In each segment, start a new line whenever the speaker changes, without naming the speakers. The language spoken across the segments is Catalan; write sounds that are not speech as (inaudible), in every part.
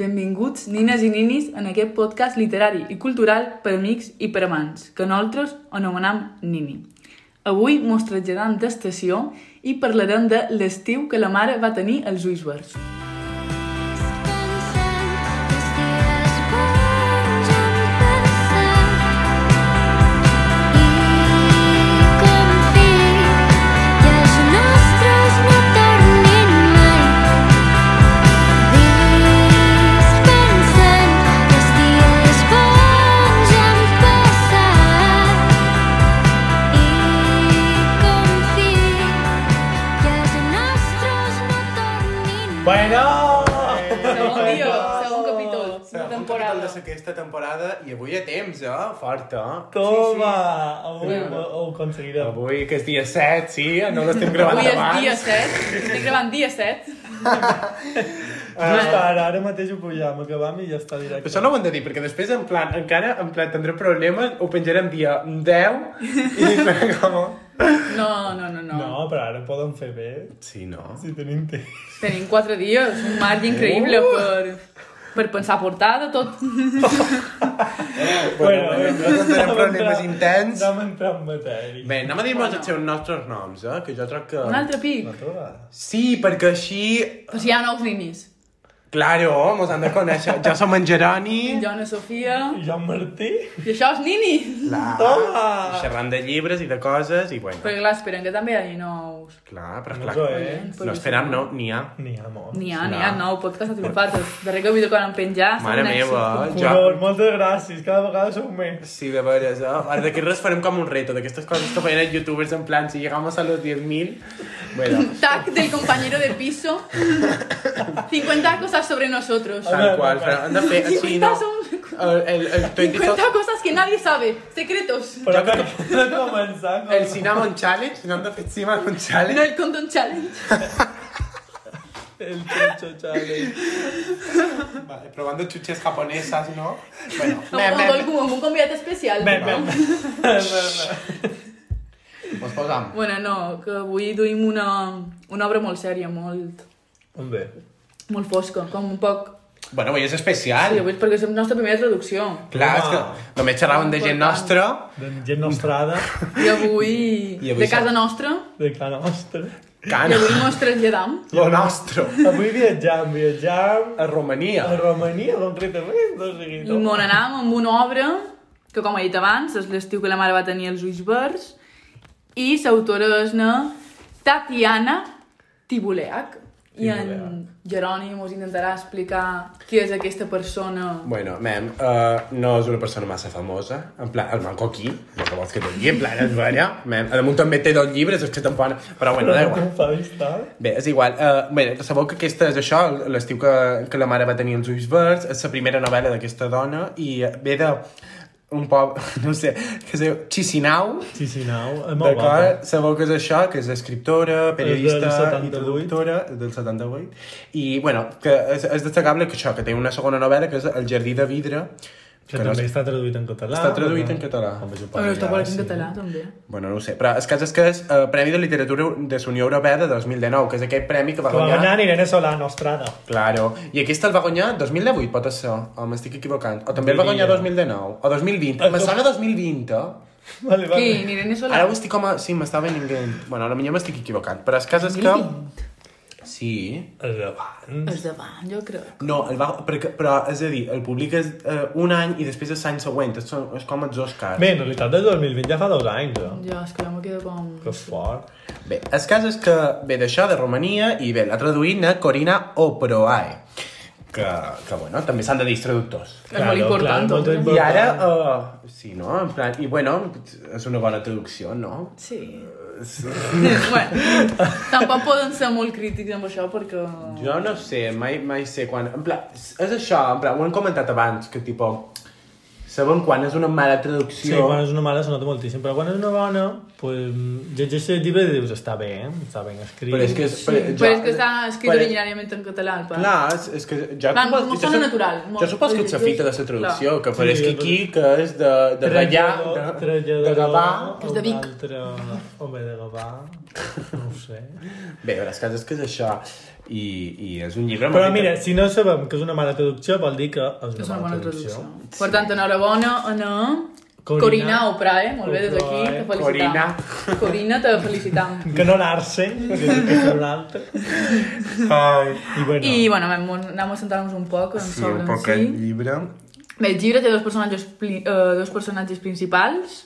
Benvinguts, nines i ninis, en aquest podcast literari i cultural per amics i per amants, que nosaltres anomenem Nini. Avui mos traslladarem d'estació i parlarem de l'estiu que la mare va tenir als ulls verds.
Bueno!
Segon dia, segon capítol, segona temporada.
de aquesta temporada i avui a temps, eh? Fort, eh?
Toma! Avui
Sí.
ho, ho aconseguirem.
Avui, que és dia 7, sí, eh? no l'estem gravant
Avui és
abans.
dia 7, estic gravant dia 7.
Just Ah, ara, ara mateix ho pugem, acabam i ja està
Però
directe.
això no ho hem de dir, perquè després, en plan, encara, en plan, tindré problemes, ho penjarem dia 10 i (laughs) com...
No, no, no, no.
No, però ara poden fer bé,
Sí, no?
si tenim temps.
Tenim 4 dies, un marge increïble per, per pensar portada, tot.
Bueno, bueno, nosaltres tindrem
anem
problemes
entrar-
intens.
Anem a entrar en matèria.
Bé, anem a dir-nos
Bueno.
els seus nostres noms, eh? Que jo crec que...
Un altre pic.
Una trobada.
Sí, perquè així...
Però si hi ha nous ninis.
Claro, mos han de conèixer. Jo som en Geroni.
Jo, Ana Sofia...
I Joan Martí?
I això és nini.
Ah.
Clar.
Toma!
Xerrant de llibres i de coses i bueno.
Perquè clar, esperen que també hi hagi nous.
Clar, però
No
clar.
ho és.
No, esperam, no, n'hi ha.
N'hi ha molt.
N'hi ha,
No.
n'hi ha nou, podcast ha triomfat. El darrer capítol que vam penjar... ha estat
Mare
un èxit.
meva,
Color,
jo...
moltes gràcies, cada vegada sou més.
Sí, de veres, eh? Ara d'aquí res farem com un reto, d'aquestes coses que feien els youtubers en plan, si llegamos a los 10.000... Bueno, (laughs)
Tag del compañero de piso. 50 cosas sobre nosotros.
tal qual, però hem de fer així, Ah, no?
50 son...
El, el, el,
50
22
cosas que nadie sabe. Secretos.
Però que (laughs) de començar... Com...
el Cinnamon Challenge, no hem de fer Cinnamon
No
Challenge.
el condón challenge.
El Chucho (laughs) Challenge.
Vale, provando chuches japonesas, no? Bueno,
No, un condón como un convidado especial.
Ben, ben, ben.
mos Pues posam.
Bueno, no, que avui duim una, una obra molt sèria, molt,
On ve?
molt fosca, com un poc...
Bueno, avui és especial.
Sí, avui és perquè és la nostra primera traducció.
Clar, és que només xerraven de gent nostra.
De gent nostrada,
I avui,
I avui Ah,
de casa
sap-
nostra,
de ca nostra.
i
Cana.
avui mos traslladam.
Lo nostre.
Avui viatjam, viatjam
A
a
Romania.
Romania, concretament, o sigui,
I m'on anàvem amb una obra que, com he dit abans, és l'estiu que la mare va tenir els ulls verds i l'autora és na Tatiana Tibuleac. I en Jeroni mos intentarà explicar qui és aquesta persona.
Bueno, mem, uh, no és una persona massa famosa. En plan, el manco aquí, no que vols que t'ho digui, en plan, és vera. Mem, a damunt també té dos llibres, és que tampoc... Però bueno,
Però
da
no
igual.
em fa vista.
Bé, és igual. Uh, bé, sabeu que aquesta és això, l'estiu que, que la mare va tenir els ulls verds, és la primera novel·la d'aquesta dona i ve de un poble, (laughs) no sé, que es diu Chisinau,
Sí, sí, nau, és molt guapa.
D'acord, sabeu què és això, que és escriptora, periodista
És del
i
78.
traductora del 78. I, bueno, que és, és destacable que això, que té una segona novel·la, que és El jardí de vidre,
Que
que no
també
sé,
està traduït en català.
Està traduït
però no-
en català.
Home, jo
Bueno, està parlant en
sí.
català, també.
Bueno, no ho sé, però el cas és que és eh, Premi de Literatura de la Unió Europea de 2019, que és aquell premi que va
Que va
guanyar...
guanyar Irene Solano, Estrada.
Claro, i aquesta el va guanyar 2018, pot ser, o m'estic equivocant. O també el va guanyar
Diria.
2019, o 2020, me sona 2020, eh?
(laughs) Vale, vale.
Qui? Irene Solà?
Ara ho estic com a... Sí, m'està venint... Bueno, potser m'estic equivocat, però el cas és que... Sí.
El davant.
És davant, jo crec.
No, el va... Perquè, però, és a dir, el públic és eh, un any i després és l'any següent. És, és com els Oscars.
Bé, en realitat del 2020 ja fa dos anys, eh?
Jo, és que jo me quedo com...
Que fort.
Bé, el cas és que ve d'això, de Romania, i bé, l'ha traduït na Corina Oproae. Que, que bueno, també s'han de dir traductors.
És molt important,
clar, molt
tot.
I
important.
ara, uh, sí, no? En plan, i bueno, és una bona traducció, no?
Sí. (laughs) bueno, tampoc poden ser molt crítics amb això perquè...
Jo no sé, mai, mai sé quan... En plan, és això, en plan, ho hem comentat abans, que tipo... Saben quan és una mala
Sí,
traducció?
quan és una mala se nota moltíssim, però quan és una bona, pues, llegeixes el llibre i dius, està bé, eh? està ben escrit.
Però és que... És,
Sí, però és que està escrit
però-
originàriament en català, el pare.
Clar, és, és que ja...
Clar,
supos-
molt
jo
sona
sup-
natural, molt-
Jo supos que ets la fita de la traducció, que apareix
Sí, doncs.
que aquí, que és de, de Gallà, de, de Gavà...
que és de Vic.
Altre... Home, de Gavà, no ho sé.
(laughs) Bé, a veure, el cas és que és això. I, i és un llibre...
Però
molt
mira,
inter-
si no sabem que és una mala traducció, vol dir que és una,
És una bona
traducció.
traducció. Per tant, enhorabona, Anna.
Corina.
Corina, Corina Oprae, molt bé, des d'aquí, te
Oprae.
felicitam. Corina. Corina, te felicitam.
Que no l'arse, que és un altre.
Ai,
I bueno,
I, bueno, vam, anem a centrar-nos un poc en
sí,
sobre
un
en
poc eh?
si.
aquest llibre.
Bé, el llibre té dos personatges, pli- eh, dos personatges principals,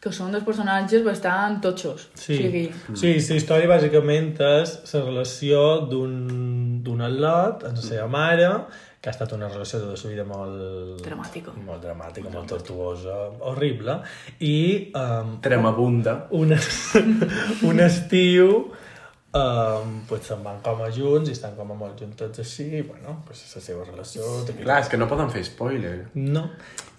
que són dos personatges bastant totxos.
Sí.
O sigui,
sí, la història bàsicament és la relació d'un d'un atlet amb la seva mare, que ha estat una relació de la seva vida molt...
Dramàtica.
Molt dramàtica, molt tortuosa, horrible. I um,
Tremabunda.
un, (laughs) un estiu um, pues se'n van com a junts i estan com a molt juntes així, i bueno, pues la seva relació...
Clar, és que no poden fer spoiler.
No.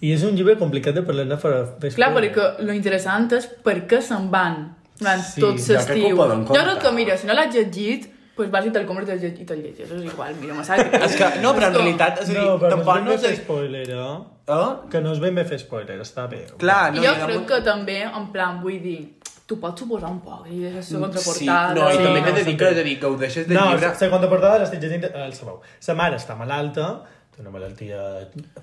I és un llibre complicat de parlar-ne per fer
clar,
spoiler.
perquè lo interessant és per què se'n van durant
Sí,
sí, tot
de
què
l'estiu.
culpa d'en
Jo crec
compte?
que, mira, si no l'has llegit, doncs vas i te'l compres i te'l llegis, i te'l llegis. És igual, mira, massa...
És que, no, però en realitat, és a dir,
No, però
tampoc
no
no
és
sé...
ben bé fer spoiler, eh?
Eh?
Que no és ben bé fer spoiler, està bé.
Clar,
I
no,
jo
hi ha
crec
molt-
que també, en plan, vull dir, tu pots suposar un poc, i és la segona
Mm, Sí,
portada...
no, i també t'he de dir
s'entén.
que, és a dir, gaudeixes del
No,
llibre...
la segona portada l'estic llegint, eh, el sabeu. Sa mare està malalta, té una malaltia...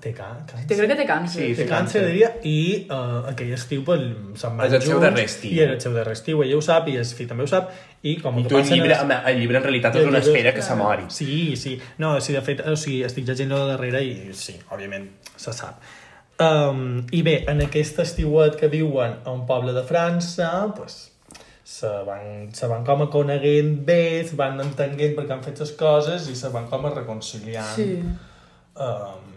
Té can,
Te crec
càncer.
que té càncer.
Sí,
Té
té
càncer,
càncer.
diria, i eh, aquell estiu pues, se'n van
És el seu
junts,
darrer estiu. eh?
I era el seu darrer estiu, ella ho sap, i el fill també ho sap, i com
I
que
tu el
passen
llibre,
els-
home, el llibre en realitat és
El
una
llibre-
espera que se mori.
Sí, sí. No, sí, de fet, o sigui, estic llegint lo de darrere i sí, òbviament, se sap. Um, I bé, en aquest estiuet que viuen a un poble de França, pues, se van, se van com a coneguent bé, se van entenguent perquè han fet les coses i se van com a reconciliant.
Sí.
Um,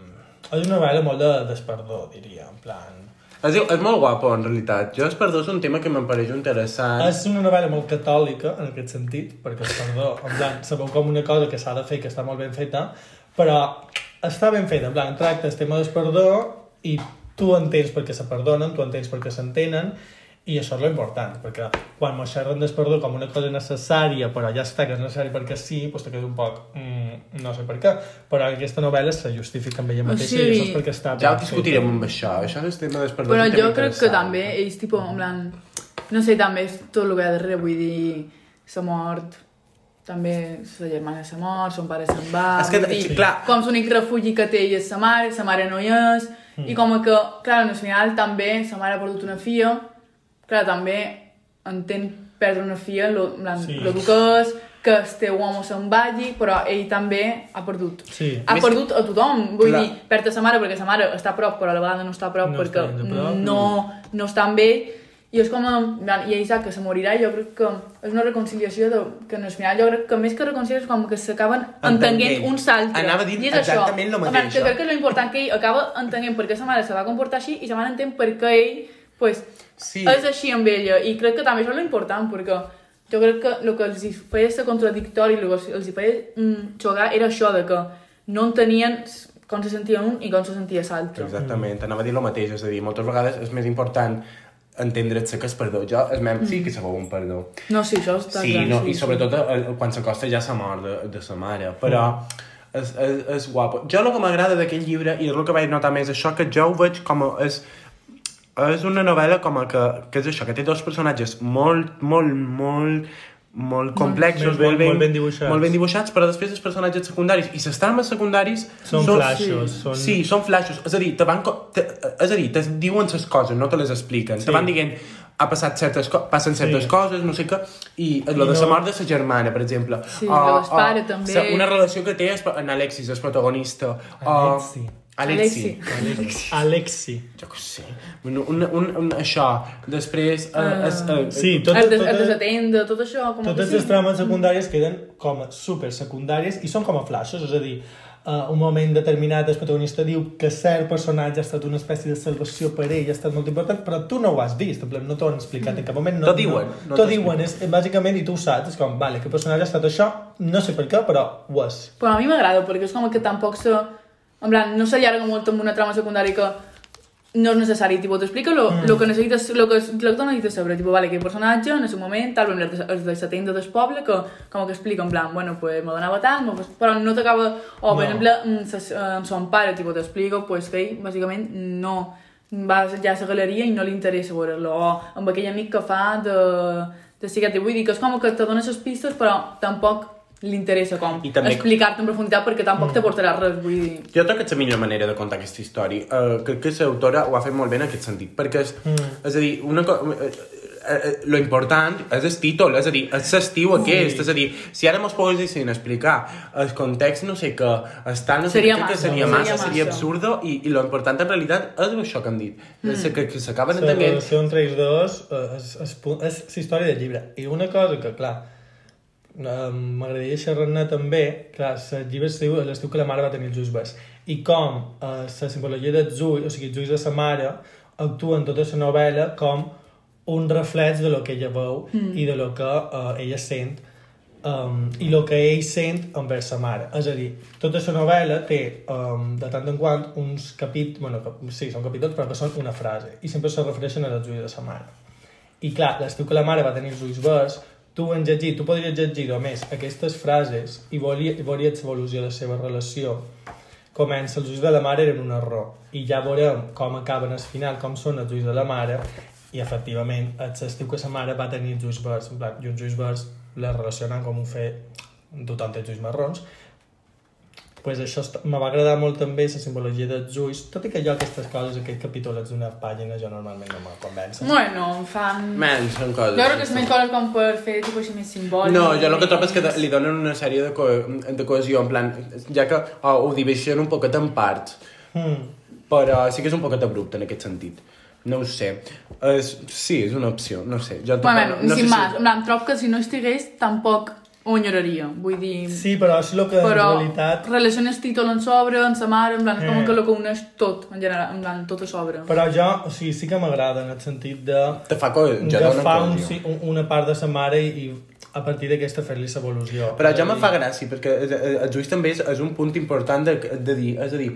és una novel·la molt de desperdó, diria, en plan...
Es, diu, és molt guapo, en realitat. Jo, Esperdó, és un tema que em pareix interessant.
És una novel·la molt catòlica, en aquest sentit, perquè, perdó, en plan, sabeu com una cosa que s'ha de fer, que està molt ben feta, però està ben feta, en plan, tracta el tema del perdó i tu entens perquè se perdonen, tu entens perquè s'entenen, i això és l'important, perquè quan mos xerren del perdó com una cosa necessària, però ja està que és necessari perquè sí, doncs te queda un poc, mm, no sé per què, però aquesta novel·la se justifica amb ella mateixa
sigui,
i això és perquè està
Ja ho
ben
discutirem amb això. Això és el tema d'Esperdó.
Però jo crec que també és tipus, en plan, no sé, també és tot el que hi ha darrere, vull dir, s'ha mort, també sa germana s'ha mort, son pare se'n va,
És que,
vull dir,
sí, clar.
com l'únic refugi que té ell és sa mare, sa mare no hi és, i com que, clar, al final també sa mare ha perdut una filla, clar, també entén perdre una filla, lo, en plan,
Sí.
lo que és, que el teu home se'n vagi, però ell també ha perdut.
Sí.
Ha
Més-
perdut a tothom, vull
Clar.
dir, perd a sa mare perquè sa mare està a prop, però a la vegada no està a prop,
No
perquè
està gens a prop.
no, no està amb ell i és com, en plan, i ell sap que se morirà i jo crec que és una reconciliació de, que en el final jo crec que més que reconciliar és com que s'acaben entenguent
Entenguent.
uns altres
Anava a dir
I és
exactament lo
això. En plan,
mateix,
que
jo.
crec que és l'important que ell acaba entenguent per què sa mare se va comportar així i sa mare entén per què ell pues,
Sí.
és així amb ella i crec que també això és l'important perquè jo crec que el que els hi feia ser contradictori el que els hi feia mm, xocar era això de que no entenien com se sentia un i com se sentia l'altre
Exactament, anava a dir el mateix, és a dir, moltes vegades és més important entendre't-se que és perdó. Jo, el mem, sí que sabeu un perdó.
No, sí, això està
Sí,
clar.
no, i sobretot eh, quan s'acosta ja s'ha mort de, de sa mare,
Mm.
però és, és, és guapo. Jo el que m'agrada d'aquest llibre, i és el que vaig notar més, això que jo ho veig com a... És, és una novel·la com a que, que és això, que té dos personatges molt, molt, molt, molt complexos,
Molt ben-
molt ben,
molt ben dibuixats.
molt ben dibuixats, però després els personatges secundaris i les trames secundaris
Són flashes,
sí.
són-
Sí, són flashes. És a dir, te van... co- Te, és a dir, te diuen les coses, no te les expliquen. Sí. Te van dient, ha passat certes, co passen certes
Sí.
coses, no sé què, i
I
lo de
no-
la mort de sa germana, per exemple.
Sí, de les pare, també.
sa- Una relació que té es- en Alexis, el protagonista. O-
Alexi.
Alexi.
Alexi.
Alexi.
Jo què sé. Un, un, un, un, això. Després... Uh, es, uh,
Ah. Sí, tot,
Tot, el,
tot,
de,
tot,
el desatendre, tot això, com
Totes
que
les trames secundàries queden com a super secundàries i són com a flashes, és a dir, uh, un moment determinat el protagonista diu que cert personatge ha estat una espècie de salvació per ell, ha estat molt important, però tu no ho has vist, en plan, no t'ho han explicat en cap moment. No,
T'ho diuen,
No,
no
t'ho
t'ho
diuen, és, eh, bàsicament, i tu ho saps, és com, vale, que personatge ha estat això, no sé per què, però ho és.
Però Pues a mi m'agrada, perquè és com que tampoc se... En plan, no s'allarga molt amb una trama secundària que no és necessari, tipo, t'explica lo, lo que necessites, lo que, lo que tu necessites saber, tipo, vale, aquest personatge en el seu moment, tal, vam el desatendre del poble, que com que explica, en plan, bueno, pues me donava tal, me- però no t'acaba, o
No.
per exemple, mm, ses- eh, en son pare, tipo, t'explica, pues que ell, bàsicament, no va ja a la galeria i no li interessa veure-lo, o amb aquell amic que fa de, de cigarret, vull dir que és com que te dones les pistes, però tampoc li interessa com
I també- Mm.
explicar-te en profunditat perquè tampoc t'aportarà res, vull dir...
Jo crec que és la millor manera de contar aquesta història. Uh, crec que l'autora ho ha fet molt bé en aquest sentit, perquè és, mm. és a dir, una co- eh, eh, eh, lo important és el títol, és a dir, és l'estiu aquest, és a dir, si ara mos poguessin explicar el context, no sé què, està, no sé
Seria
què, crec que
massa,
seria
seria
massa,
massa.
seria absurdo, i, i lo important en realitat és això que han dit, mm. que, que s'acaben
La
entenent.
relació entre ells dos eh, és, és, pu- és, la història del llibre. I una cosa que, clar, eh, m'agradaria xerrar-ne també, clar, el llibre es diu l'estiu que la mare va tenir els ulls bes. I com eh, la simbologia dels ulls, o sigui, els ulls de sa mare, actua en tota la novel·la com un reflex de lo que ella veu mm. i de lo que eh, ella sent um, i el que ell sent envers sa mare. És a dir, tota la novel·la té um, de tant en quant uns capítols, bueno, cap, sí, són capítols, però que són una frase, i sempre se refereixen a les ulls de sa mare. I clar, l'estiu que la mare va tenir els ulls verds, tu en llegir, tu podries llegir només aquestes frases i veuria- i veuries l'evolució de la seva relació. Comença, els ulls de la mare eren un error, i ja veurem com acaben al final, com són els ulls de la mare, i efectivament, és l'estiu que sa mare va tenir els ulls verds, en plan, i uns ulls verds les relacionen com un fet, tothom té els ulls marrons, pues això est- me va agradar molt també la simbologia dels ulls, tot i que jo aquestes coses, aquest capítol és d'una pàgina, jo normalment no me convença.
Bueno, em fan...
Man, són
Jo
coses.
crec que és més coses com per fer tipus així més simbòlic.
No, jo el que trobo és que
més-
li donen una sèrie de, co de cohesió, en plan, ja que oh, ho divisionen un poquet en parts,
Hmm.
però sí que és un poquet abrupte en aquest sentit. No ho sé. És, sí, és una opció, no ho sé. Jo
Bueno,
no sé
sin
si-
más, en plan, trobo que si no estigués tampoc ho enyoraria, vull dir...
Sí, però és el que en
però
realitat...
relaciones títol en sobre, en sa mare, en plan, és com
Eh.
que el que uneix tot, en general, en plan, tot a sobre.
Però jo, o sigui, sí que m'agrada en el sentit de
Te fa co ja dona
agafar un,
cohesió.
sí, un- una part de sa mare i, i a partir d'aquesta fer-li sa evolució.
Però ja me fa gràcia, perquè eh, eh, els ulls també és, és un punt important de, de dir. És a dir,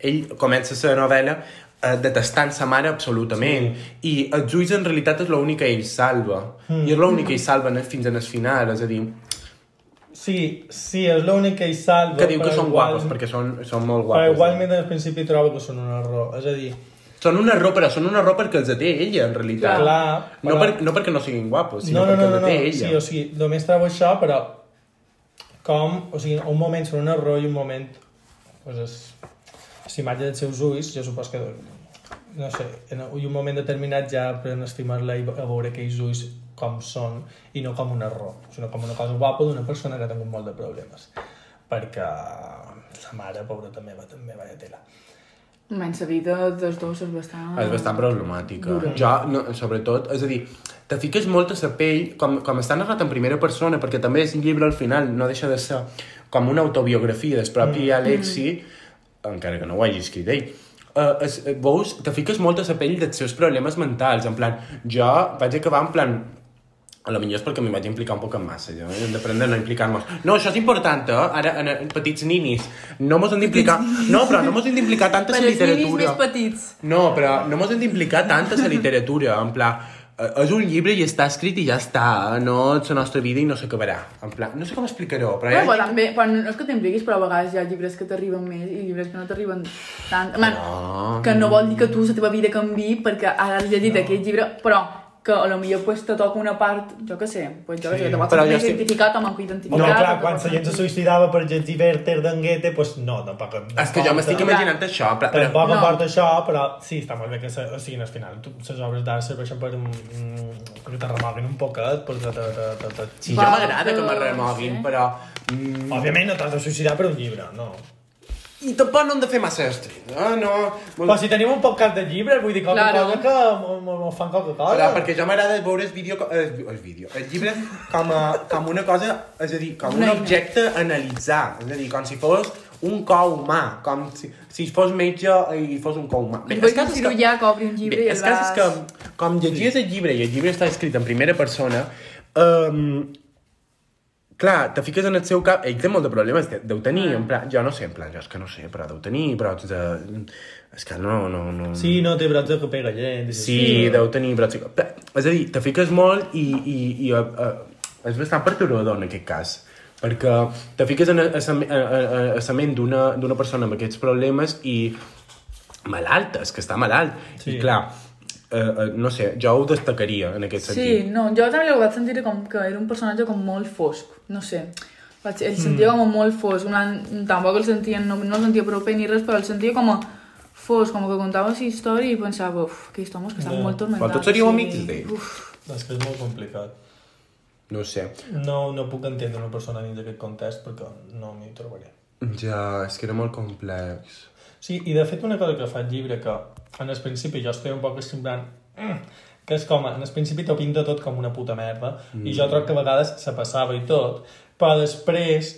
ell comença la novel·la eh, detestant sa mare absolutament. Sí. I els ulls en realitat és l'únic que ell salva. Mm. I és l'únic que ell salva en- fins al final. És a dir,
Sí, sí, és l'únic que hi salva.
que diu que
però
són
igual-
guapos, perquè són, són molt guapos. eh.
Però igualment al principi trobo que són un error. És a dir,
Són un error, però són un error perquè els té ella, en realitat.
Clar,
no,
però-
per, no perquè no siguin guapos, sinó
no, no,
perquè
no, no,
els
no.
té
Sí,
ella.
o sigui, només trobo això, però com, o sigui, un moment són un error i un moment pues és si imatge dels seus ulls, jo supos que no sé, en i un moment determinat ja apren a estimar-la i a veure aquells ulls com són i no com un error, sinó com una cosa guapa d'una persona que ha tingut molt de problemes perquè sa mare, pobreta meva, també, vaya tela.
Menys la vida dels dos és bastant...
És bastant problemàtica. Jo, no, sobretot, és a dir, te fiques molt a la pell, com, com està narrat en primera persona, perquè també és un llibre al final, no deixa de ser com una autobiografia del propi mm. Alexi, encara que no ho hagi escrit ell, Uh, es, eh, veus, te fiques molt a la pell dels seus problemes mentals, en plan, jo vaig acabar en plan, a lo millor és perquè m'hi vaig implicar un poc en massa, jo. Hem d'aprendre a no implicar-nos. No, això és important, eh? Ara, en, en petits ninis. No mos hem d'implicar... No, però no mos hem d'implicar tant en
Per
la
els ninis
literatura.
més petits.
No, però no mos hem d'implicar tant a la literatura, en pla, eh, és un llibre i està escrit i ja està, eh, no és la nostra vida i no s'acabarà. En pla, no sé com explicar-ho, però...
Però,
Ja...
però, també, però no és que t'impliquis, però a vegades hi ha llibres que t'arriben més i llibres que no t'arriben tant. Man,
No.
Que no vol dir que tu la teva vida canvi perquè ara has llegit no. aquest llibre, però que a lo millor pues, te toca una part, jo què sé, pues, jo què sé, que te pots
però
sentir
jo
més
estic-
identificat amb el que
Home,
identificat.
no,
o
clar,
te
quan
pots
la gent se
sentir-
suïcidava per llegir Werther d'Anguete, doncs no, tampoc...
És que jo m'estic
Clar.
imaginant això, però...
Però
però...
poc no.
No.
importa això, però sí, està molt bé que se, o sigui, al final tu, les obres d'art serveixen per mm, que te remoguin un poquet, però te, te, te, te, te...
Sí, ja
Però-
m'agrada que me remoguin,
Sí.
però... Mm,
Òbviament no t'has de suïcidar per un llibre, no.
I tampoc no hem de fer massa estret. Ah, no...
Però si tenim un podcast de llibres, vull dir qualque
Claro.
claro. cosa que mo- mo- mo fan qualque cosa.
Però perquè jo m'agrada veure el vídeo, co- el, vi- el vídeo, el llibre com, a, com una cosa, és a dir, com un
Una eina.
objecte a analitzar, és a dir, com si fos un cou humà, com si, si fos metge i fos un cou humà.
Vull
el
que
cas
un
és
cirurgià que obri un llibre i
bé,
el
el cas
vas-
és que com llegies el llibre i el llibre està escrit en primera persona, um, clar, te fiques en el seu cap, ell té molt de problemes, de- deu tenir,
Ah.
en plan, jo no sé, en plan, jo és que no sé, però deu tenir brots de... És que no, no, no...
Sí, no, té brots de que pega gent. dices,
Sí, deu tenir brots. És a dir, te fiques molt i, i, i uh, uh, és bastant perturbador en aquest cas. Perquè te fiques en el- a la- a- a- a la ment d'una d'una persona amb aquests problemes i malalta, és que està malalt. Sí. I clar, uh, uh, no sé, jo ho destacaria en aquest
Sí,
sentit.
no, jo també l'he vaig sentir com que era un personatge com molt fosc, no sé. Vaig, el sentia
Mm.
com molt fos, una, tampoc el sentia, no, no el sentia proper ni res, però el sentia com a fos, com que contava la història i pensava, uf, que estem que estan
Ja.
molt tormentats.
Però tots seríeu
i-
amics d'ell?
Uf,
És que és molt complicat.
No ho sé.
No, no puc entendre una persona dins d'aquest context perquè no m'hi trobaré.
Ja, és que era molt complex.
Sí, i de fet una cosa que fa el llibre que en el principi jo estic un poc semblant "Mm", que és com, en el principi t'ho pinta tot com una puta merda mm. i jo trobo que a vegades se passava i tot però després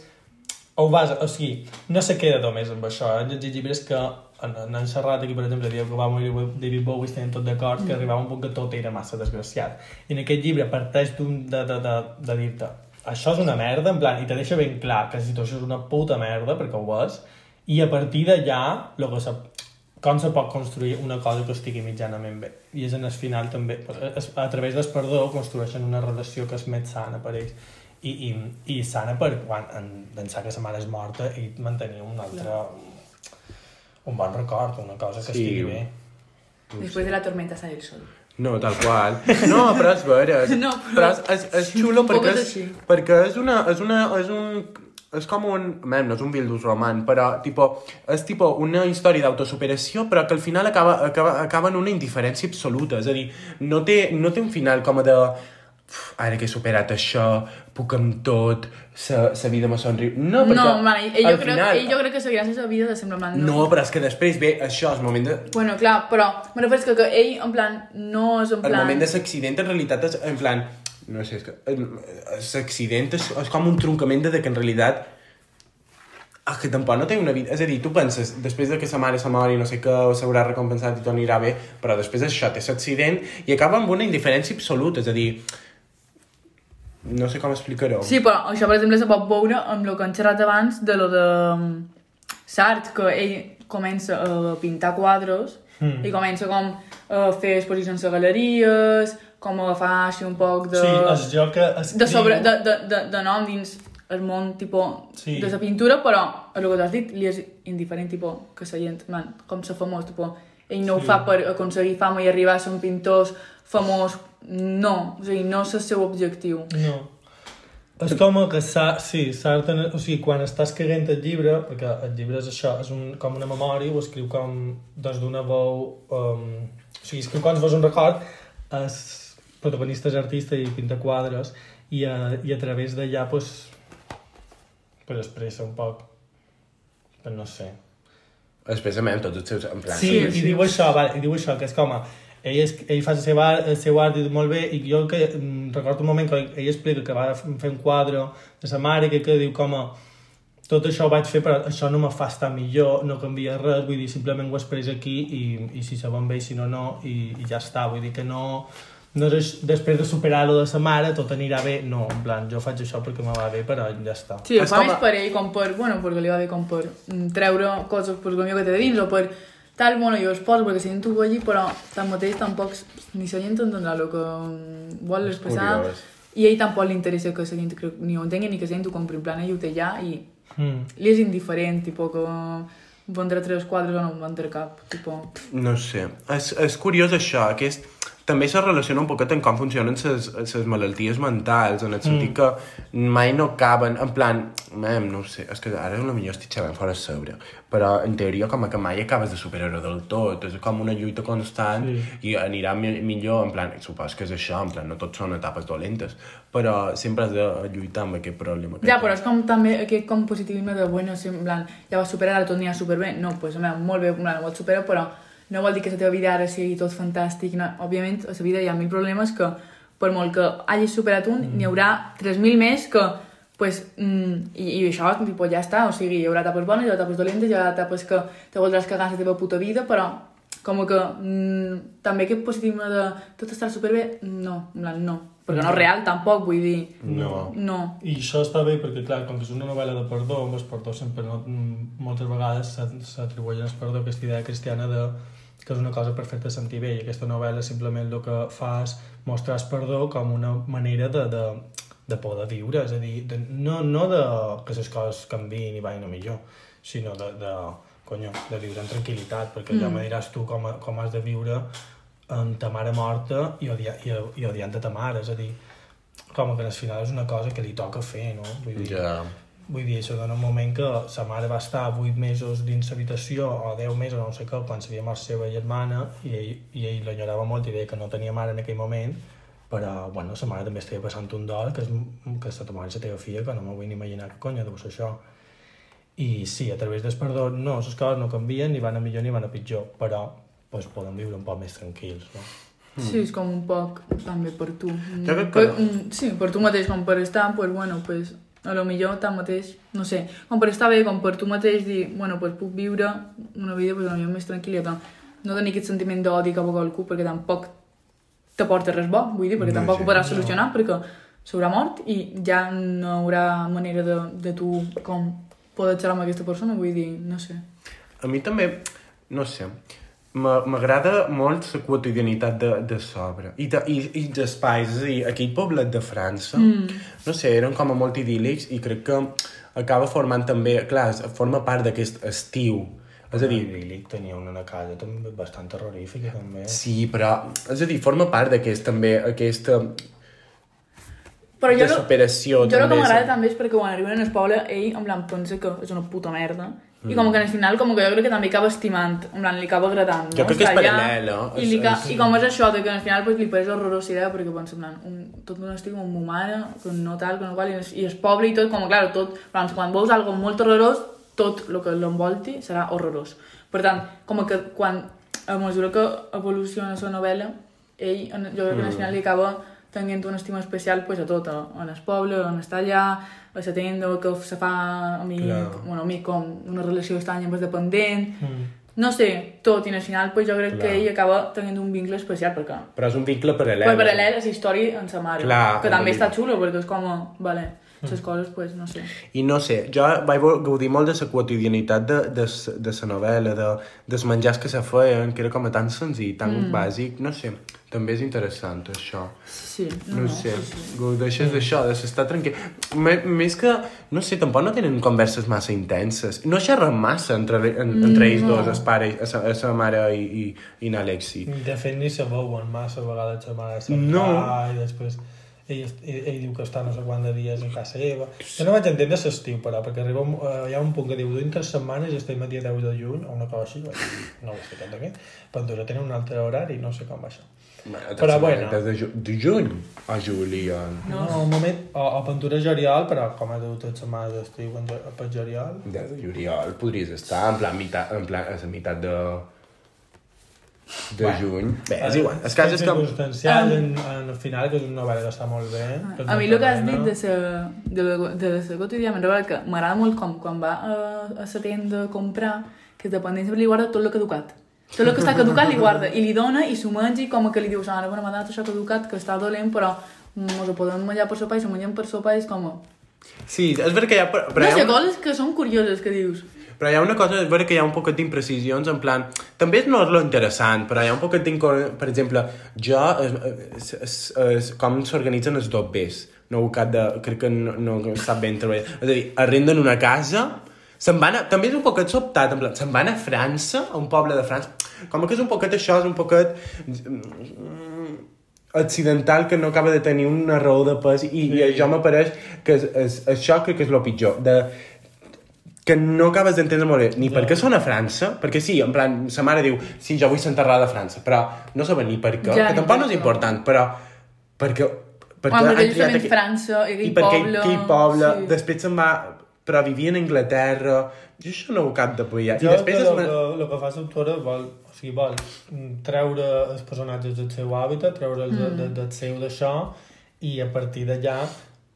o vas, o sigui, no se queda només amb això, eh? han llegit llibres que en, en, en xerrat aquí, per exemple, diu que va morir David Bowie, estaven tot d'acord, que arribava un punt que tot era massa desgraciat. I en aquest llibre parteix d'un de, de, de, de dir-te això és una merda, en plan, i te deixa ben clar que la situació és una puta merda, perquè ho és, i a partir d'allà, lo que se, com se pot construir una cosa que estigui mitjanament bé. I és en el final també, es- a través del perdó construeixen una relació que és més sana per ells. I, i, i sana per quan en, pensar que sa mare és morta i mantenir un altre... un bon record, una cosa que
Sí.
estigui bé.
després de la tormenta sale el sol.
No, tal qual. No, però és vera. És,
(laughs) No,
no,
però-
però... però és, és, és xulo
Un poc
perquè
és
és,
així.
perquè és una... És, una, és un és com un... Man, no és un Vildus roman, però tipo, és tipo una història d'autosuperació, però que al final acaba, acaba, acaba en una indiferència absoluta. És a dir, no té, no té un final com de... "Uf, Ara que he superat això, puc amb tot, sa, sa vida me somriu... No, perquè
no, man, ell, jo
al
crec,
final...
ell jo crec que seguirà sense vida de semblar blanc.
No, però és que després ve això, el moment de,
Bueno, clar, però me refereixo que, que ell, en plan, no és en
El
plan...
moment de l'accident en realitat és en plan... No sé, és que l'accident és, és com un troncament de que en realitat és que tampoc no té una vida... És a dir, tu penses, després de que sa mare se mori, no sé què, s'haurà recompensat i tot anirà bé, però després això, té l'accident i acaba amb una indiferència absoluta, és a dir... No sé com explicar-ho.
Sí, però això, per exemple, se pot veure amb el que hem xerrat abans de lo de mm, Sartre, que ell comença uh, a pintar quadros
Hmm.
mm. i comença com uh, a fer exposicions a galeries, com a agafar així un poc de...
Sí, és jo que escriu...
de, sobre, de, de, de, de nom dins el món, tipo,
Sí.
de la pintura, però el que t'has dit li és indiferent, tipo, que la gent, man, com se famós, tipo, ell no sí. ho fa per aconseguir fama i arribar a ser un pintor famós, no, o sigui, no és el seu objectiu.
No. És com que sa, sí, Sartre, o sigui, quan estàs caguent el llibre, perquè el llibre és això, és un, com una memòria, ho escriu com des d'una veu... Um, o sigui, escriu quan fos un record, el protagonista és artista i pinta quadres, i a, i a través d'allà, doncs, pues, expressa un poc. Però no sé.
Expressament, tots els seus... En plan,
Sí, i diu això, vale, i diu això, que és com... a- Ell, és, ell fa el seu, art, el seu art i molt bé, i jo que mm, recordo un moment que ell explica que va fer un quadre de sa mare, que, que diu com... a, Tot això ho vaig fer, però això no me fa estar millor, no canvia res, vull dir, simplement ho expresso aquí i, i si se van bé, si no, no, i, i ja està, vull dir que no... No és, aix- després de superar-lo de sa mare, tot anirà bé. No, en plan, jo faig això perquè me va bé, però ja està.
Sí, ho
És
fa
com
més
a-
per ell, com per, bueno, perquè li va bé com per mm, treure coses per lo millor que té dins, o per tal, bueno, jo es poso perquè si no t'ho vegi, però tanmateix tampoc s- ni la gent entendrà el que mm, vol expressar,
curiós.
i a ell tampoc li interessa que la gent crec, ni ho entengui ni que la gent ho compri, en plan, ell ho té ja i
Mm.
li és indiferent, tipo, que vendrà tres quadres o no en vendrà cap, tipo...
No sé, és, és curiós això, aquest... També se relaciona un poquet en com funcionen les malalties mentals, en el sentit que mai no caben, en plan, mem, no ho sé, és que ara potser estic xerrant fora sobre, però en teoria com que mai acabes de superar-ho del tot, és com una lluita constant sí. i anirà mi millor, en plan, supos que és això, en plan, no tot són etapes dolentes, però sempre has de lluitar amb aquest problema. que
Ja,
tens.
però és com també aquest com positivisme de, bueno, si en plan, ja vas superar, ara tot anirà superbé. No, doncs, pues, home, molt bé, en plan, ho vols superar, però no vol dir que la teva vida ara sigui tot fantàstic. No, òbviament, a la vida hi ha mil problemes que, per molt que hagis superat un, mm. n'hi haurà 3.000 més que, pues, mm, i, i això, tipo, ja està, o sigui, hi haurà etapes bones, hi haurà etapes dolentes, hi haurà etapes que te voldràs cagar la teva puta vida, però com que mm, també aquest positivisme de tot estarà superbé, no, en plan, no. Perquè no és real, tampoc, vull dir,
No.
no.
I això està bé perquè, clar, com que és una novel·la de perdó, amb el perdó sempre, no, mm, moltes vegades s'at- s'atribueix al perdó aquesta idea cristiana de que és una cosa perfecta de sentir bé i aquesta novel·la simplement el que fa és mostrar el perdó com una manera de, de, de poder viure, és a dir, de, no, no de que les coses canviïn i vagin a millor, sinó de, de, conyo, de viure en tranquil·litat, perquè mm. ja me diràs tu com, com has de viure amb ta mare morta i, odia, i, i odiant ta mare, és a dir, com que al final és una cosa que li toca fer, no? Vull dir,
Ja.
Vull dir, això dona un moment que sa mare va estar 8 mesos dins l'habitació o 10 mesos, no sé què, quan s'havia mort la seva germana i ell, i ell l'enyorava molt i deia que no tenia mare en aquell moment però, bueno, sa mare també estava passant un dol que, es, que està tomant la teva filla que no m'ho vull ni imaginar que conya deu ser això i sí, a través del perdó no, les coses no canvien, ni van a millor ni van a pitjor però pues, poden viure un poc més tranquils no?
Sí, és com un poc també per tu.
Jo Hmm. crec que
Per,
no.
mm, sí, per tu mateix, com per estar, pues bueno, pues, a lo millor tanmateix, no sé, com per estar bé, com per tu mateix dir, bueno, pues puc viure una vida pues, a lo millor més tranquil·la, tant. no tenir aquest sentiment d'odi cap a qualcú perquè tampoc t'aporta res bo, vull dir, perquè
No,
tampoc
sí,
ho podràs solucionar perquè s'haurà mort i ja no haurà manera de, de tu com poder xerrar amb aquesta persona, vull dir, no sé.
A mi també, no sé, m'a- m'agrada molt la quotidianitat de, de sobre i, de, i, i els espais, és a dir, aquell poblet de França, mm. no sé, eren com a molt idíl·lics i crec que acaba formant també, clar, es- forma part d'aquest estiu, és a dir,
Idíl·lic tenia una casa també bastant terrorífica també
sí, però, és a dir, forma part d'aquest també, aquesta
Però jo, no-
desoperació
Jo el que
també.
m'agrada també és perquè quan arriben al poble ell en plan pensa que és una puta merda i
Mm.
com que al final com que jo crec que també acaba estimant en plan li acaba agradant no?
Jo crec que
Estar
és
allà,
paral·lel, eh?
i, li
És-
ca...
és-
i com és això de que al final pues, li pareix horrorosa idea perquè pensa en plan un... tot un estic amb ma mare que no tal, que no val i, es- i el poble i tot com clar, tot, en plan, quan veus algo molt horrorós tot el que l'envolti serà horrorós per tant, com que quan a mesura que evoluciona la novel·la ell, en- jo crec que al final li acaba tenint una estima especial pues, a tot, a, a les poble, on està allà, a la tenda que se fa amic,
Clar.
bueno, amic com una relació estranya més dependent, mm. no sé, tot, i al final pues, jo crec Clar. que ell acaba tenint un vincle especial, perquè
Però és un vincle paral·lel.
per paral·lel a la història en sa mare,
Clar,
que també
vull
està
dir.
xulo, perquè és com, a, vale, les coses, pues, no sé.
I no sé, jo vaig vol- gaudir molt de la quotidianitat de, de, s- de la novel·la, de, dels menjars que se feien, que era com a tan senzill, tan mm. bàsic, no sé. També és interessant, això.
Sí,
No,
no,
no sé,
Sí, sí.
gaudeixes d'això, de s'estar tranquil. Me- Més que, no sé, tampoc no tenen converses massa intenses. No xerren massa entre, en, entre ells dos, els pares, a sa, a sa mare i, i, i n'Alexi.
De fet, ni se veuen massa a vegades la mare se'n
No.
va i després ell, est- ell, ell diu que està no sé quant de dies a casa seva. Jo no vaig entendre l'estiu, però, perquè arriba un, eh, hi ha un punt que diu dintre setmanes i estem a dia 10 de juny o una cosa així, vaig dir, no ho sé tant també, però entonces tenen un altre horari, no sé com va això. Però bueno.
Des de, ju de juny a juliol.
No, no un moment, o, o pintura juliol, però com ha dut les setmanes d'estiu quan jo- per juliol,
Des de juliol podries estar en plan, mitat, en plan a la meitat de... de bueno, juny. Bé, Eh, és igual. El cas és que...
circumstancial en, en el final, que és una novel·la que està molt bé. és
Ah. A mi el
molt
que has
amena.
dit de la, de la, de la quotidiana em recorda que m'agrada molt com quan va a, a la tenda a comprar, que és dependent sempre li guarda tot el caducat. Tot el que està caducat li guarda i li dona i s'ho menja i com que li dius, ara bueno, m'ha donat això caducat que està dolent però mos ho podem menjar per sopar i s'ho mengem per sopar i és com...
Sí, és veritat que hi ha... Però,
Però
però,
no
hi
sé,
ha,
coses que són curioses que dius.
però hi ha una cosa, és veritat que hi ha un poquet d'imprecisions, en plan... També no és lo interessant, però hi ha un poquet d'incor... Per exemple, jo... eh, Es, es, es, es, eh, com s'organitzen els dobbers. No ho cap de... Crec que no, no sap ben treballar. És a dir, arrenden una casa... Se'n van a, també és un poquet sobtat, en plan, se'n van a França, a un poble de França. Com que és un poquet això, és un poquet... accidental que no acaba de tenir una raó de pes i, sí. i això m'apareix que és, és, això crec que és el pitjor de, que no acabes d'entendre molt bé ni per què són a França, perquè sí, en plan, sa mare diu, sí, jo vull ser enterrada a França, però no saben ni per què,
Ja,
que
ni
tampoc
per
no és
què.
important, però perquè...
Home,
perquè
perquè
han
ells
triat
són en
aquell-
França, i aquell poble,
aquell poble,
sí.
després se'n va però vivia en Anglaterra, jo això no ho cap de pillar. I
Jo després
després
que el,
es va...
que, el que fa l'autora vol, o sigui, vol mm, treure els personatges del seu hàbitat, treure'ls mm. de, de, del seu d'això, i a partir d'allà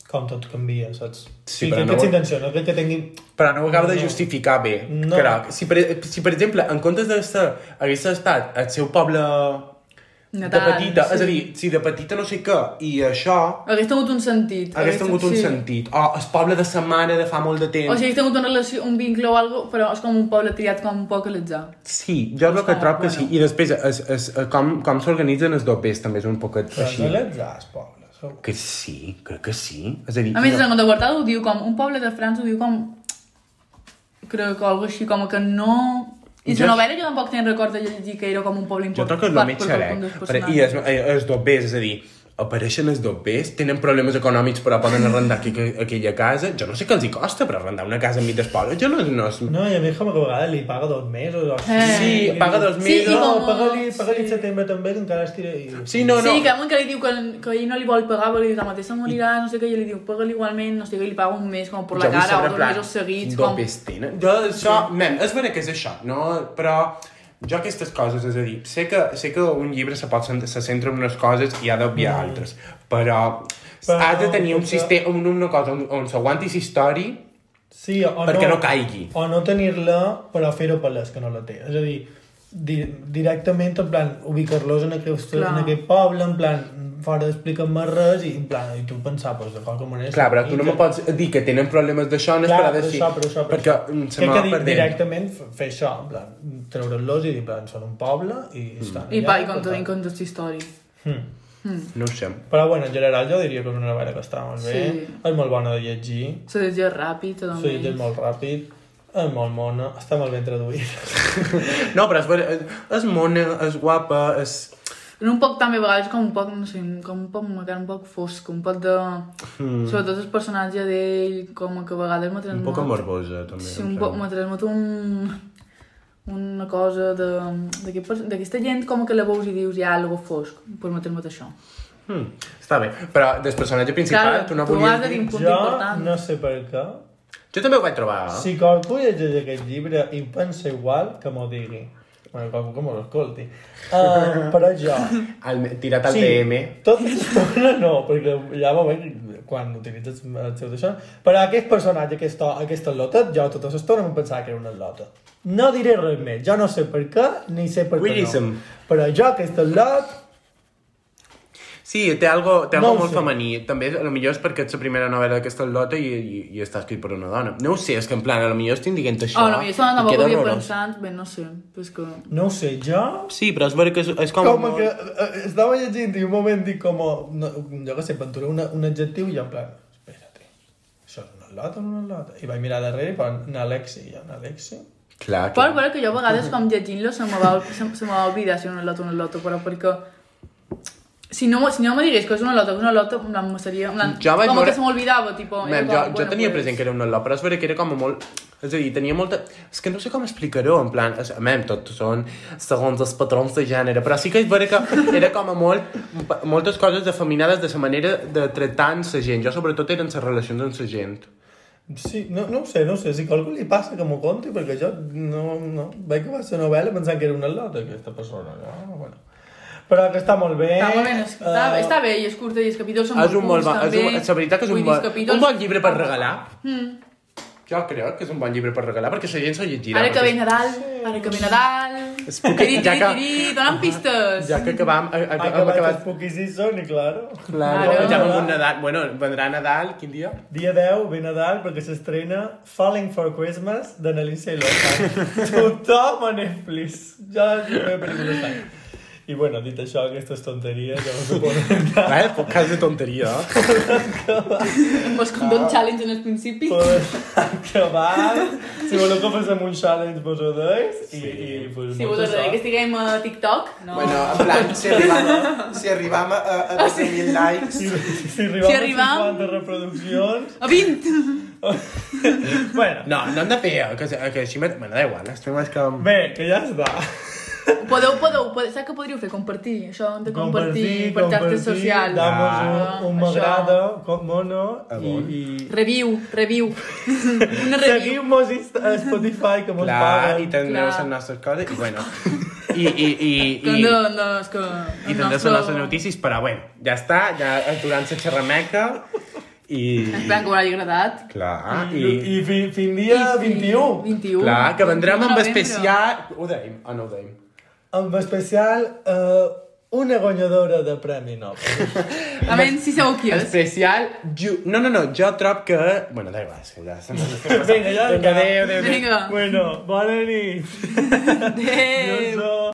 com tot canvia, saps?
Sí,
I
però
crec
no
que és
vol-
intenció, no crec que tinguin...
però no ho acaba de justificar bé,
No.
crec. Si per, si, per exemple, en comptes de ser, hagués estat el seu poble de
Natal,
petita,
sí.
és a dir, si de petita no sé què, i això
Hagués tingut un sentit.
hagués tingut un
sí.
sentit. O el poble de sa mare de fa molt de temps.
O sigui, hagués tingut una relació, un vincle o algo, però és com un poble triat com un poc a l'atzar.
Sí, jo el que
com,
trobo que sí.
bueno.
I després, es, es, com, com s'organitzen els dobbers també és un poquet
Però
així.
no l'atzar, el poble, segur.
Que sí, crec que sí. És a dir,
A més,
no,
en el Guardado ho diu com... Un poble de França ho diu com... Crec que algo així, com que no... I
Jo-
la novel·la jo tampoc te'n record de llegir que era com un poble
jo trobo que és el
important
més
per
xerec.
qualcun dels
Però- I
personatges.
els, eh, els dobbers, és a dir, apareixen els dobbers, tenen problemes econòmics però poden arrendar aquí, aquella casa. Jo no sé què els hi costa, però arrendar una casa enmig del poble, jo no... no és...
No, i a mi com que a vegades li paga dos mesos o així.
Eh.
Sí, paga dos
Sí, i
mesos...
No,
com-
paga-li
sí.
paga sí. setembre també, que encara estira... I...
Sí, no, no.
Sí, que amunt que li diu que, que ell no li vol pagar perquè la mateixa morirà, no sé què, i li diu, paga-li igualment, no sé què, i li paga un mes com per la
Jo vull
cara o
saber,
dos
plan,
mesos seguits,
d'on
com...
ves tenen. Jo, això, nen, és vera que és això, no? Però jo aquestes coses, és a dir, sé que, sé que un llibre se, pot, cent- se centra en unes coses i ha d'obviar mm. altres, però,
Però-
però has de tenir un sistema, un, una cosa on, on s'aguanti aquesta història
Sí, o
perquè
no
no caigui.
O no tenir-la, però fer-ho palès que no la té. És a dir, di directament, en plan, ubicar-los en, aquest,
Clar.
en aquest poble, en plan, fora d'explicar-me res, i en plan, i tu pensar, doncs, de qualque manera...
Clar, però tu no
que-
me pots dir que tenen problemes d'això,
Clar,
no esperar
per
d'així.
això, per això, per
perquè
això.
mm, se
Crec
m'ha
que di-
perdent.
Directament f- fer això, en plan, treure'ls-los i dir, en plan, són un poble i
Mm.
estan
I pa, i
per
com tot
tant.
en compte aquesta història.
Hmm.
No ho sé.
Però bueno, en general jo diria que és una novel·la que està molt bé,
Sí.
és molt bona de llegir,
Se llegeix ràpid, tot
se llegeix molt ràpid, és molt mona, està molt ben traduït.
No, però és, vera- és- és mona, és guapa, és...
En un poc també a vegades com un poc, no sé, com un poc macar, un poc fosc, un poc de... Mm. Sobretot el personatge d'ell, com que a vegades m'ha
Un
transmut...
poc morbosa, també.
Sí,
em
un poc,
sembla.
m'ha transmut un... una cosa de- d'aquest pers- d'aquesta gent com que la veus i dius hi ha algo fosc, doncs m'ha transmut això.
Mm, està bé, però del personatge principal
Clar,
tu no
tu
volies
has de dir
dir...
un punt
Jo
important.
no sé per què,
Jo també ho vaig trobar. Sí.
si qualcú llegeix aquest llibre i pensa igual, que m'ho digui. Bueno, qualcú que m'ho escolti.
(laughs)
Uh, però jo...
Al, tirat al sí. DM.
tot l'estona no, perquè ja va bé quan utilitzes el seu d'això, però aquest personatge, aquesta, aquesta lota, jo tota l'estona em pensava que era una lota. No diré res més, jo no sé per què, ni sé per què no.
Weirdism.
Però jo aquesta lot,
Sí, té algo, té
No
algo
ho
molt
sé.
femení. També, a lo millor és perquè és la primera novel·la d'aquesta lota i, i, i està escrit per una dona. No ho sé, és que en plan, a lo millor estic dient això.
Oh, no, jo estava
i
tampoc
queda
havia
horrorós.
pensat, bé, no sé, però és que...
no ho sé, jo...
Sí, però és vera que és, és com...
Com que eh, estava llegint i un moment dic com, no, jo què sé, penturé una, un adjectiu i jo en plan, espérate, això és una lota o no una lota? I vaig mirar darrere i van anar Alexi, i jo, anar Alexi?
Clar, clar.
Però, però que jo a vegades com llegint-lo se me va, se, se me va oblidar si era una lota o una lota, però perquè... Si no, si no me digués que és una lota, que és una lota, em plan, me seria... En plan,
Jo vaig
com
veure-
que se m'olvidava, tipo... era
Mem,
com,
jo, jo
bueno,
tenia
pues-
present que era un olor, però és vera que era com a molt... És a dir, tenia molta... És que no sé com explicar-ho, en plan... És, mem, tot són segons els patrons de gènere, però sí que és vera que era com a molt... Moltes coses defeminades de la manera de tractar amb la gent. Jo, sobretot, eren les relacions amb la gent.
Sí, no, no ho sé, no ho sé. Si qualcú li passa que m'ho conti, perquè jo no, no. Vaig acabar la novel·la pensant que era una lota aquesta persona. No? Bueno. Però que està molt bé.
Està molt bé, és, està,
Eh,
està bé, i és curta, i els capítols són
És un molt bon...
curts,
És un,
també.
la veritat que és
Vull
un
dir, els
bon,
capítols-
un bon llibre per regalar.
Mm.
Jo crec que és un bon llibre per regalar, perquè la gent se'l llegirà.
Ara que
perquè-
ve Nadal, ara que ve Nadal...
És poquet,
Tiri,
ja
tiri,
que-
tiri, dona'm pistes!
Ja que acabam, a, a,
Ha
hem
acabat el
acabat...
Spooky Season, i claro.
Claro.
Claro.
Ja vam un Nadal. Bueno, vendrà Nadal, quin dia?
Dia 10, ve Nadal, perquè s'estrena Falling for Christmas, de Nelisa i Lohan. Tothom a Netflix. Ja és la meva pel·lícula sang. I bueno, dit això, aquestes tonteries, ja us ho podem
Vale, cas de tonteria.
Pues com
Ah.
d'un challenge en el principi.
Podem acabar. Si voleu que fem un challenge, vos ho deis. I, i pues,
Si
molta
vosaltres
sort.
que estiguem a TikTok, no.
Bueno, en plan, si arribam, si arribam a, a, a 2.000 likes...
Si, si arribam
Si
si
arribam-
a 50 reproduccions...
A 20!
bueno,
No, no hem de fer, eh, que, que així me, me da igual, eh. les temes que...
bé, que ja està.
Podeu, podeu, podeu, saps què podríeu fer? Compartir, això de compartir, per
compartir,
xarxes socials.
Damos un, un
Ah, això.
m'agrada, com mono,
Ah,
i...
bon.
i...
Review, review. Una review.
Seguim-nos a
(laughs)
Spotify, que mos
Clar, i
paguen.
Clar.
tindreu les nostres coses, i bueno... I, i, i,
Que
i,
no, no, és que...
i
el
tindreu les
nostre-
nostres notícies, però bueno, ja està, ja aturant la xerrameca, i...
Esperem que ho hagi agradat.
Clar,
I,
Ah, i...
i fin, fin dia 21.
21.
Clar, que vendrem
21
amb
novembre.
especial... Ho deim? Ah, no ho deim.
Amb especial eh, una guanyadora de Premi Nobel.
A veure si sabeu qui és.
Especial... Ju... No, no, no, jo trob que... Bueno, da igual, és que ja... se m'ha-
Vinga, ja
Vinga,
està.
adéu, adéu, adéu.
Vinga.
Bueno, bona nit.
Adéu.
Adéu.